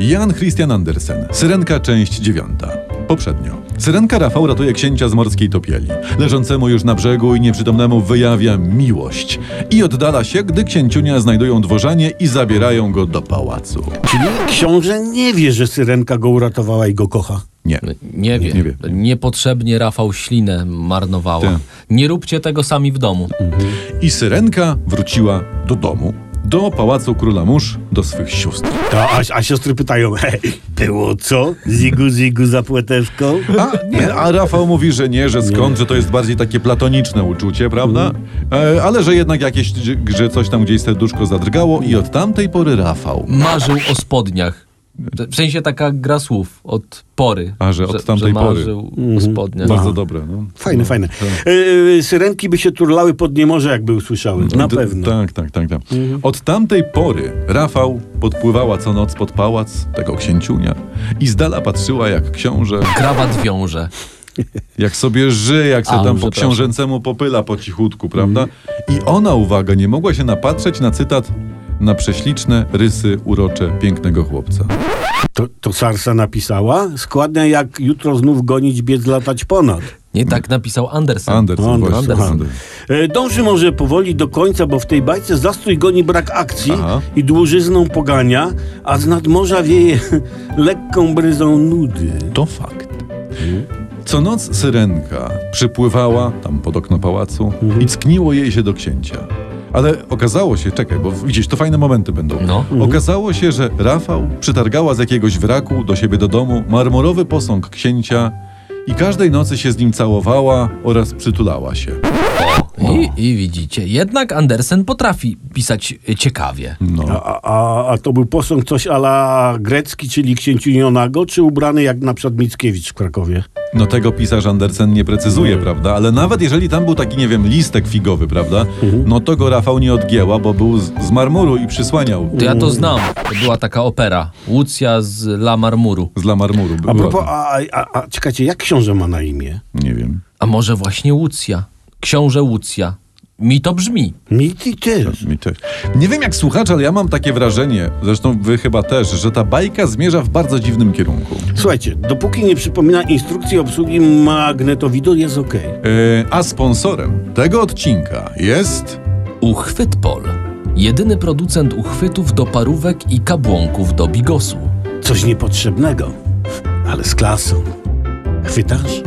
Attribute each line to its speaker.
Speaker 1: Jan Christian Andersen. Syrenka, część dziewiąta. Poprzednio. Syrenka Rafał ratuje księcia z morskiej topieli. Leżącemu już na brzegu i nieprzytomnemu wyjawia miłość. I oddala się, gdy księciunia znajdują dworzanie i zabierają go do pałacu.
Speaker 2: Czyli książę nie wie, że syrenka go uratowała i go kocha.
Speaker 1: Nie.
Speaker 3: Nie wie.
Speaker 1: Nie wie.
Speaker 3: Niepotrzebnie Rafał ślinę marnowała.
Speaker 1: Tak.
Speaker 3: Nie róbcie tego sami w domu.
Speaker 1: I Syrenka wróciła do domu. Do pałacu króla mórz, do swych sióstr.
Speaker 2: To, a, a siostry pytają, hej, było co? Zigu, zigu za płetewką?
Speaker 1: A, nie, a Rafał mówi, że nie, że skąd, że to jest bardziej takie platoniczne uczucie, prawda? E, ale że jednak jakieś, że coś tam gdzieś serduszko zadrgało i od tamtej pory Rafał.
Speaker 3: Marzył o spodniach. W sensie taka gra słów od pory.
Speaker 1: A, że od tamtej
Speaker 3: że
Speaker 1: pory.
Speaker 3: marzył o spodniach.
Speaker 1: Bardzo dobre, no.
Speaker 2: Fajne, fajne. Yy, syrenki by się turlały pod niemorze, jakby usłyszały. Na
Speaker 1: D-
Speaker 2: pewno. Mhm.
Speaker 1: Tak, tak, tak. tak. Od tamtej pory Rafał podpływała co noc pod pałac tego księciunia i z dala patrzyła jak książę,
Speaker 3: Krawat wiąże.
Speaker 1: jak sobie żyje, jak
Speaker 3: A,
Speaker 1: sobie tam po
Speaker 3: przepraszam.
Speaker 1: książęcemu popyla po cichutku,
Speaker 2: Mhm.
Speaker 1: prawda? I ona, uwaga, nie mogła się napatrzeć na cytat na prześliczne rysy urocze pięknego chłopca.
Speaker 2: To, to Sarsa napisała? Składnia jak jutro znów gonić, biec latać ponad.
Speaker 3: Nie tak napisał Andersen.
Speaker 1: Andersen,
Speaker 2: Andersen,
Speaker 1: właśnie.
Speaker 3: Andersen.
Speaker 1: Andersen.
Speaker 2: E, Dąży może powoli do końca, bo w tej bajce zastój goni brak akcji
Speaker 1: Aha.
Speaker 2: i dłużyzną pogania, a z nadmorza wieje lekką bryzą nudy.
Speaker 1: To fakt. Co noc syrenka przypływała tam pod okno pałacu i ckniło jej się do księcia. Ale okazało się, czekaj, bo widzisz, to fajne momenty będą.
Speaker 3: No.
Speaker 1: Okazało się, że Rafał przytargała z jakiegoś wraku do siebie do domu marmurowy posąg księcia i każdej nocy się z nim całowała oraz przytulała się. no.
Speaker 3: I, I widzicie, jednak Andersen potrafi pisać y, ciekawie.
Speaker 1: No.
Speaker 2: A, a- a, a to był posąg coś ala grecki, czyli księciunionago, czy ubrany jak na przykład Mickiewicz w Krakowie?
Speaker 1: No tego pisarz Andersen nie precyzuje, prawda? Ale nawet jeżeli tam był taki, nie wiem, listek figowy, prawda? No to go Rafał nie odgięła, bo był z, z marmuru i przysłaniał.
Speaker 3: To ja to znam. To była taka opera. Łucja z La Marmuru.
Speaker 1: Z la marmuru.
Speaker 2: A
Speaker 1: Była
Speaker 2: propos,
Speaker 1: tam.
Speaker 2: a, a, a czekajcie, jak książę ma na imię?
Speaker 1: Nie wiem.
Speaker 3: A może właśnie Łucja? Książę Łucja. Mi to brzmi.
Speaker 2: Mi ty też.
Speaker 1: Mi też. Nie wiem jak słuchacze, ale ja mam takie wrażenie, zresztą wy chyba też, że ta bajka zmierza w bardzo dziwnym kierunku.
Speaker 2: Słuchajcie, dopóki nie przypomina instrukcji obsługi magnetowidu, jest okej.
Speaker 1: E, a sponsorem tego odcinka jest...
Speaker 3: Uchwyt Pol. Jedyny producent uchwytów do parówek i kabłonków do bigosu.
Speaker 2: Coś niepotrzebnego, ale z klasą. Chwytasz?